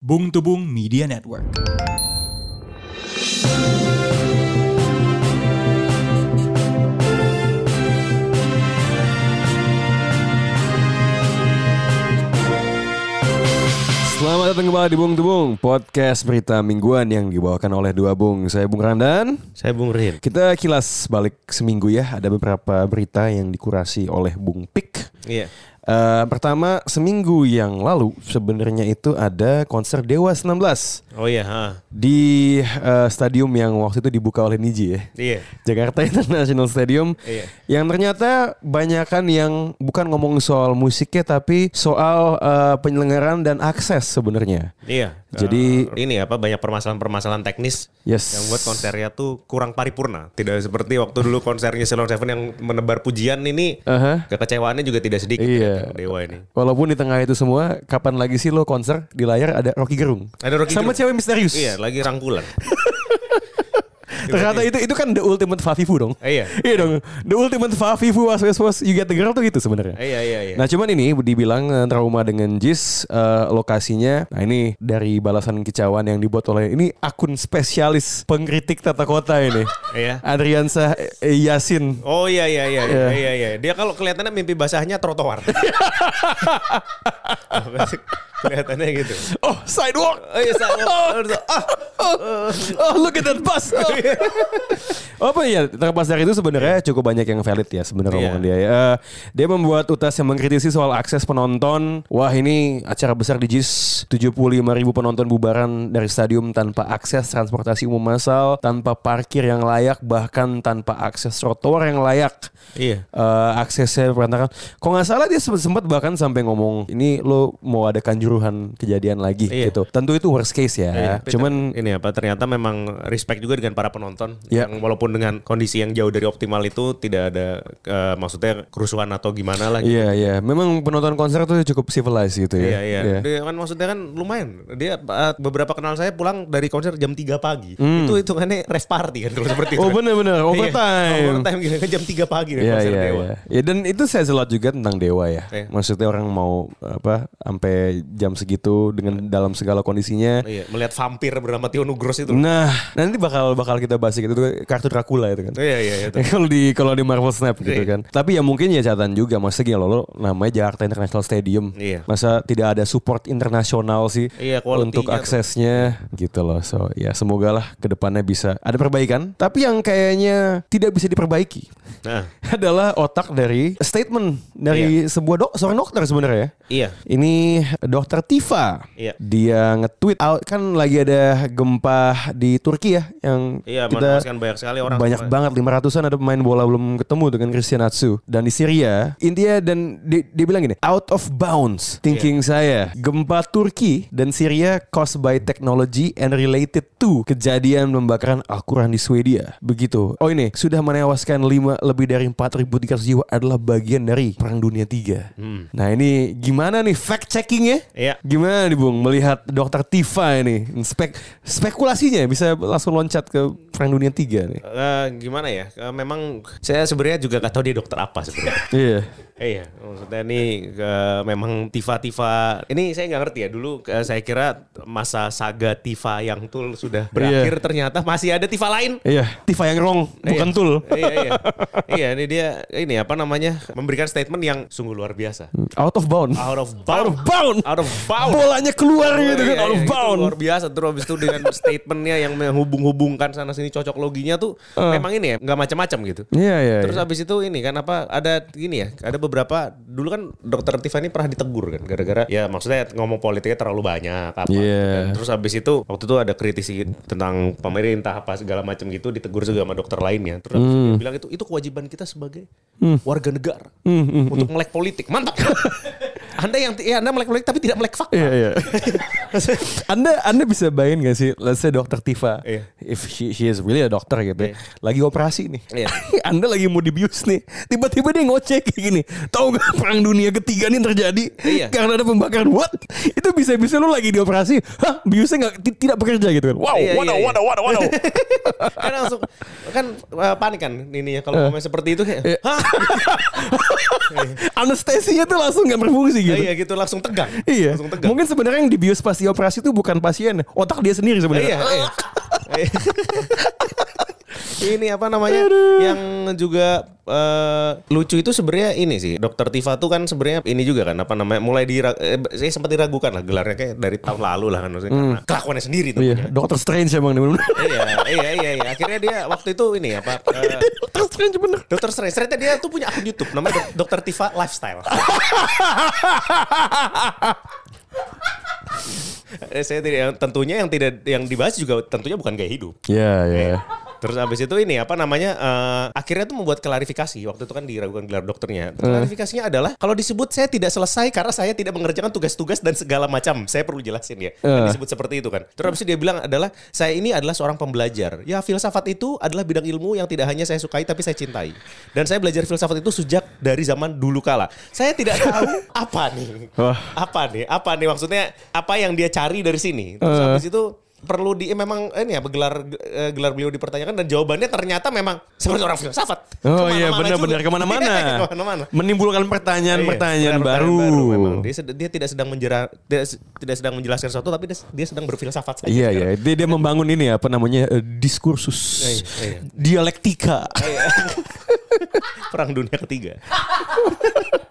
Bung Tubung Media Network. Selamat datang kembali di Bung Tubung Podcast berita mingguan yang dibawakan oleh dua Bung Saya Bung Randan Saya Bung Rin. Kita kilas balik seminggu ya Ada beberapa berita yang dikurasi oleh Bung Pik Iya. Eh, Pertama seminggu yang lalu sebenarnya itu ada konser Dewa 19 Oh iya, ha. Di eh, stadium yang waktu itu dibuka oleh Niji ya Iya. Jakarta International Stadium Iya. yang ternyata banyakan yang bukan ngomong soal musiknya tapi soal eh, penyelenggaraan dan akses sebenarnya. Iya. Jadi- Eh, ini apa banyak permasalahan-permasalahan teknis Yes. yang buat konsernya tuh kurang paripurna. Tidak seperti waktu dulu konsernya Ceylon Seven yang menebar pujian ini. Aha. Kekecewaannya juga tidak sedikit Eh. Iya. terhadap Dewa ini. Walaupun di tengah itu semua, kapan lagi sih lo konser di layar ada Rocky Gerung? Ada Rocky Sama cewek Gerung. misterius. Iya, lagi rangkulan. Ternyata itu itu kan the ultimate Fafifu dong. Eh, iya. Iya dong. The ultimate Fafifu was was was you get the girl tuh gitu sebenarnya. Eh, iya, iya, iya. Nah cuman ini dibilang eh, trauma dengan Jis eh, lokasinya. Nah ini dari balasan kicauan yang dibuat oleh ini akun spesialis pengkritik tata kota ini. Iya. Adriansa eh, Yasin. Oh iya iya iya Iya. iya iya. iya. Dia kalau kelihatannya mimpi basahnya trotoar. kelihatannya gitu. Oh sidewalk. Oh iya, saya- ah, Oh, oh, look at that bus. Oh. Apa ya terlepas dari itu sebenarnya cukup banyak yang valid ya sebenarnya Iya. omongan dia. ya. Eh, dia membuat utas yang mengkritisi soal akses penonton. Wah ini acara besar di JIS 75 ribu penonton bubaran dari stadium tanpa akses transportasi umum massal, tanpa parkir yang layak, bahkan tanpa akses trotoar yang layak. Iya. Eh, aksesnya berantakan. Kok nggak salah dia sempat, sempat bahkan sampai ngomong ini lo mau ada kanjuruhan kejadian lagi Iya. gitu. Tentu itu worst case ya. Iya, tapi Cuman ter- ini apa ternyata memang respect juga dengan para penonton Iya. yang walaupun dengan kondisi yang jauh dari optimal itu tidak ada eh, maksudnya kerusuhan atau gimana lah gitu. Iya iya, memang penonton konser tuh cukup civilized gitu ya. Iya iya. Dia kan maksudnya kan lumayan. Dia eh, beberapa kenal saya pulang dari konser jam 3 pagi. Itu hitungannya rest party kan kalau seperti itu. Hmm. Oh kan. bener-bener Iya, overtime. Overtime gitu kan jam 3 pagi dari Iya konser iya Dewa. iya. Ya, dan itu saya selot juga tentang dewa ya. Iya. Maksudnya orang mau apa sampai jam segitu dengan dalam segala kondisinya. Iya, melihat vampir bernama Tiono Gross itu. Nah, nanti bakal bakal kita bahas gitu tuh kartu Dracula itu kan. Iya iya iya. Ya, kalau di kalau di Marvel Snap gitu Iya. kan. Tapi ya mungkin ya catatan juga maksudnya gini loh, lo namanya Jakarta International Stadium. Iya. Masa tidak ada support internasional sih Iya, quality-nya untuk tuh. aksesnya gitu loh. So ya semoga lah kedepannya bisa ada perbaikan. Tapi yang kayaknya tidak bisa diperbaiki Nah, adalah otak dari statement dari sebuah dok seorang dokter sebenarnya. ya. iya. Ini dokter Tifa. Iya. Dia nge-tweet out kan lagi ada gempa di Turki ya yang Iya, kita menewaskan banyak sekali orang. banyak banget 500-an ada pemain bola belum ketemu dengan Christian Atsu dan di Syria India dan di- dia, bilang gini out of bounds thinking saya gempa Turki dan Syria caused by technology and related to kejadian pembakaran Al-Quran di Swedia begitu oh ini sudah menewaskan 5 lebih dari 4.300 jiwa adalah bagian dari perang dunia 3 nah ini gimana nih fact checkingnya Iya. gimana nih Bung melihat dokter Tifa ini spek spekulasinya bisa langsung loncat ke perang dunia 3 nih Eh, gimana ya? Eh, memang saya sebenarnya juga gak tahu dia dokter apa sebenarnya. Iya. Eh, iya, maksudnya ini eh, memang Tifa-Tifa. Ini saya nggak ngerti ya. Dulu eh, saya kira masa saga Tifa yang tul sudah berakhir. Iya. Ternyata masih ada Tifa lain. Iya. Tifa yang wrong, bukan Iya. tul. iya, iya. Iya, ini dia ini apa namanya? Memberikan statement yang sungguh luar biasa. Out of bound. Out of bound. Out of bound. Out of bound. Bolanya keluar gitu kan, Iya, out of iya, itu bound. Luar biasa terus habis itu dengan statementnya yang menghubung-hubungkan sana sini cocok loginya tuh Ah. memang ini ya nggak macam-macam gitu. Iya, iya. Terus abis itu ini kan apa ada gini ya ada beberapa dulu kan dokter Tiffany pernah ditegur kan gara-gara ya maksudnya ngomong politiknya terlalu banyak apa Iya. Dan terus abis itu waktu itu ada kritisi tentang pemerintah apa segala macam gitu ditegur juga sama dokter lainnya terus abis itu Hmm. dia bilang itu itu kewajiban kita sebagai warga negara Hmm, untuk melek politik mantap anda yang ya anda melek politik tapi tidak melek fakta Iya, iya. Anda Anda bisa bayangin gak sih, let's say dokter Tifa, Iya. if he, he is really a doctor gitu, ya, lagi operasi nih, Iya. Anda lagi mau dibius nih, tiba-tiba dia ngoceh kayak gini, tahu gak perang dunia ketiga nih terjadi Iya. karena ada pembakaran what? Itu bisa-bisa lu lagi dioperasi, hah, biusnya nggak ti- tidak bekerja gitu kan? Wow, Iya, waduh, iya, iya. waduh, waduh, waduh. kan langsung kan eh, panik kan Eh. ini ya kalau ngomong seperti itu kayak Iya. Anestesinya tuh langsung nggak berfungsi gitu. Iya gitu langsung tegang. Iya. Langsung tegang. Mungkin sebenarnya yang dibius pas dioperasi itu bukan pasien, otak dia sendiri Iya. sebenarnya. eh. Eh. ini apa namanya yang juga eh, lucu itu sebenarnya ini sih dokter Tifa tuh kan sebenarnya ini juga kan apa namanya mulai di saya sempat diragukan lah gelarnya kayak dari tahun lalu lah kan maksudnya karena kelakuannya sendiri tuh Iya, Dokter Strange emang nih. bener-bener. iya, iya, iya, iya. Akhirnya dia waktu itu ini apa? eh, Dokter Strange bener. Dokter Strange, ternyata dia tuh punya akun YouTube namanya Dok- Dokter Tifa Lifestyle. Eh, Saya tidak, yang- tentunya yang tidak yang dibahas juga tentunya bukan gaya hidup. Iya, iya. Terus abis itu ini apa namanya eh, akhirnya tuh membuat klarifikasi waktu itu kan diragukan gelar dokternya. Klarifikasinya adalah kalau disebut saya tidak selesai karena saya tidak mengerjakan tugas-tugas dan segala macam. Saya perlu jelasin ya. Eh. Kan disebut seperti itu kan. Terus abis itu dia bilang adalah saya ini adalah seorang pembelajar. Ya filsafat itu adalah bidang ilmu yang tidak hanya saya sukai tapi saya cintai. Dan saya belajar filsafat itu sejak dari zaman dulu kala. Saya tidak tahu apa nih. Wah. Apa nih? Apa nih maksudnya apa yang dia cari dari sini? Terus Eh. habis itu perlu di eh, memang ini ya gelar eh, gelar beliau dipertanyakan dan jawabannya ternyata memang seperti orang filsafat. Oh iya Kemana-mana benar-benar juga. kemana-mana. Kemana-mana. Menimbulkan Iya, pertanyaan-pertanyaan baru. memang. Dia, sed- dia tidak sedang menjera, dia se- tidak sedang menjelaskan sesuatu tapi dia, dia sedang berfilsafat saja. Iya iya, sekarang. dia, dia membangun ini apa namanya eh, diskursus Iya, iya. dialektika. Perang dunia ketiga.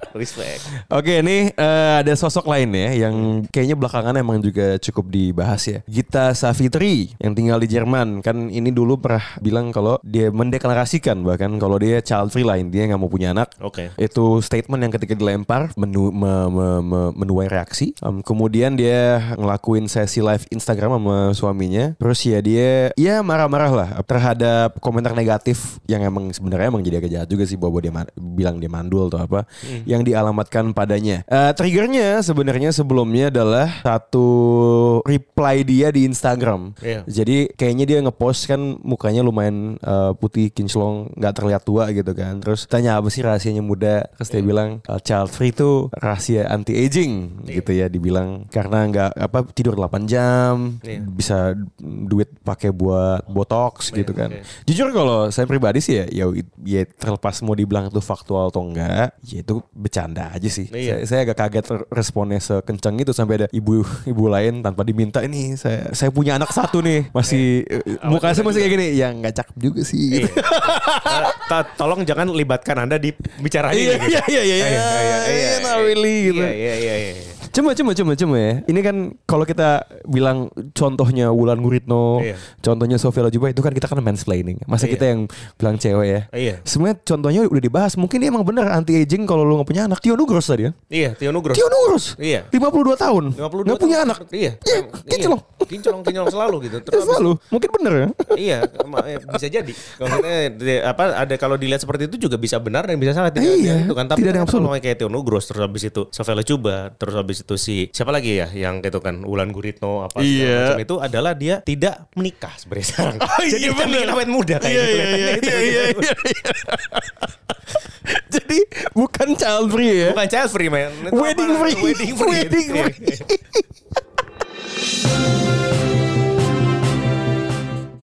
Respect. Oke, ini eh, ada sosok lain ya yang kayaknya belakangan emang juga cukup dibahas ya. Gita Savitri yang tinggal di Jerman kan ini dulu pernah bilang kalau dia mendeklarasikan bahkan kalau dia child free lain dia nggak mau punya anak. Oke. Itu statement yang ketika dilempar menu, me- me- me- menuai reaksi. Em, kemudian dia ngelakuin sesi live Instagram sama suaminya. Terus ya dia ya marah-marah lah terhadap komentar negatif yang emang sebenarnya emang jadi agak jahat juga sih bahwa dia ma- bilang dia mandul atau apa Hmm. yang dialamatkan padanya. Eh, triggernya sebenarnya sebelumnya adalah satu reply dia di Instagram. Iya. Jadi kayaknya dia ngepost kan mukanya lumayan eh, putih kinclong nggak terlihat tua gitu kan. Terus tanya apa sih rahasianya muda? Terus Iya. dia bilang "Eh, child free itu rahasia anti aging Iya. gitu ya dibilang karena nggak apa tidur 8 jam Iya. bisa duit pakai buat botox gitu kan. iya. Jujur kalau saya pribadi sih ya ya, ya terlepas mau dibilang itu faktual atau enggak, ya itu bercanda aja sih. Iya. Saya- saya agak kaget responnya sekencang itu sampai ada ibu ibu lain tanpa diminta ini saya saya punya anak satu nih masih eh, muka saya masih kayak gini ya nggak cakep juga sih gitu. Iya. Eh, to- tolong jangan libatkan Anda di bicara ini. Iya gitu. iya iya iya iya not really gitu. Iya, iya, iya, iya. Cuma cuma cuma cuma ya. Ini kan kalau kita bilang contohnya Wulan Guritno, Iya. contohnya Sofia Lajuba itu kan kita kan mansplaining. Masa Iya. kita yang bilang cewek ya. Iya. Sebenarnya contohnya udah dibahas. Mungkin dia emang bener anti aging kalau lu nggak punya anak. Tio Nugros tadi ya. Iya, Tio Nugro. Tio Nugros. Iya. 52 tahun. 52 Nggak punya tahun. anak. Iya. Iya, kinclong. Kinclong, kinclong selalu gitu. Ya Terus abis- selalu. Mungkin bener ya. iya, em- eh, bisa jadi. Maksudnya di- apa ada kalau dilihat seperti itu juga bisa benar dan bisa salah tidak Iya, itu kan. Tapi tidak ada yang kalau absolut. kayak Tio Nugros terus habis itu Sofela Cuba, terus habis itu si siapa lagi ya yang itu kan Ulan Guritno apa segala Iya. macam itu adalah dia tidak menikah sebenarnya sekarang. jadi iya, dia bener. bikin awet muda kayak gitu. kelihatannya itu. iya, Jadi bukan child free ya. Bukan child free man. Itu Wedding apa? free. Wedding free. Wedding Iya, free. iya.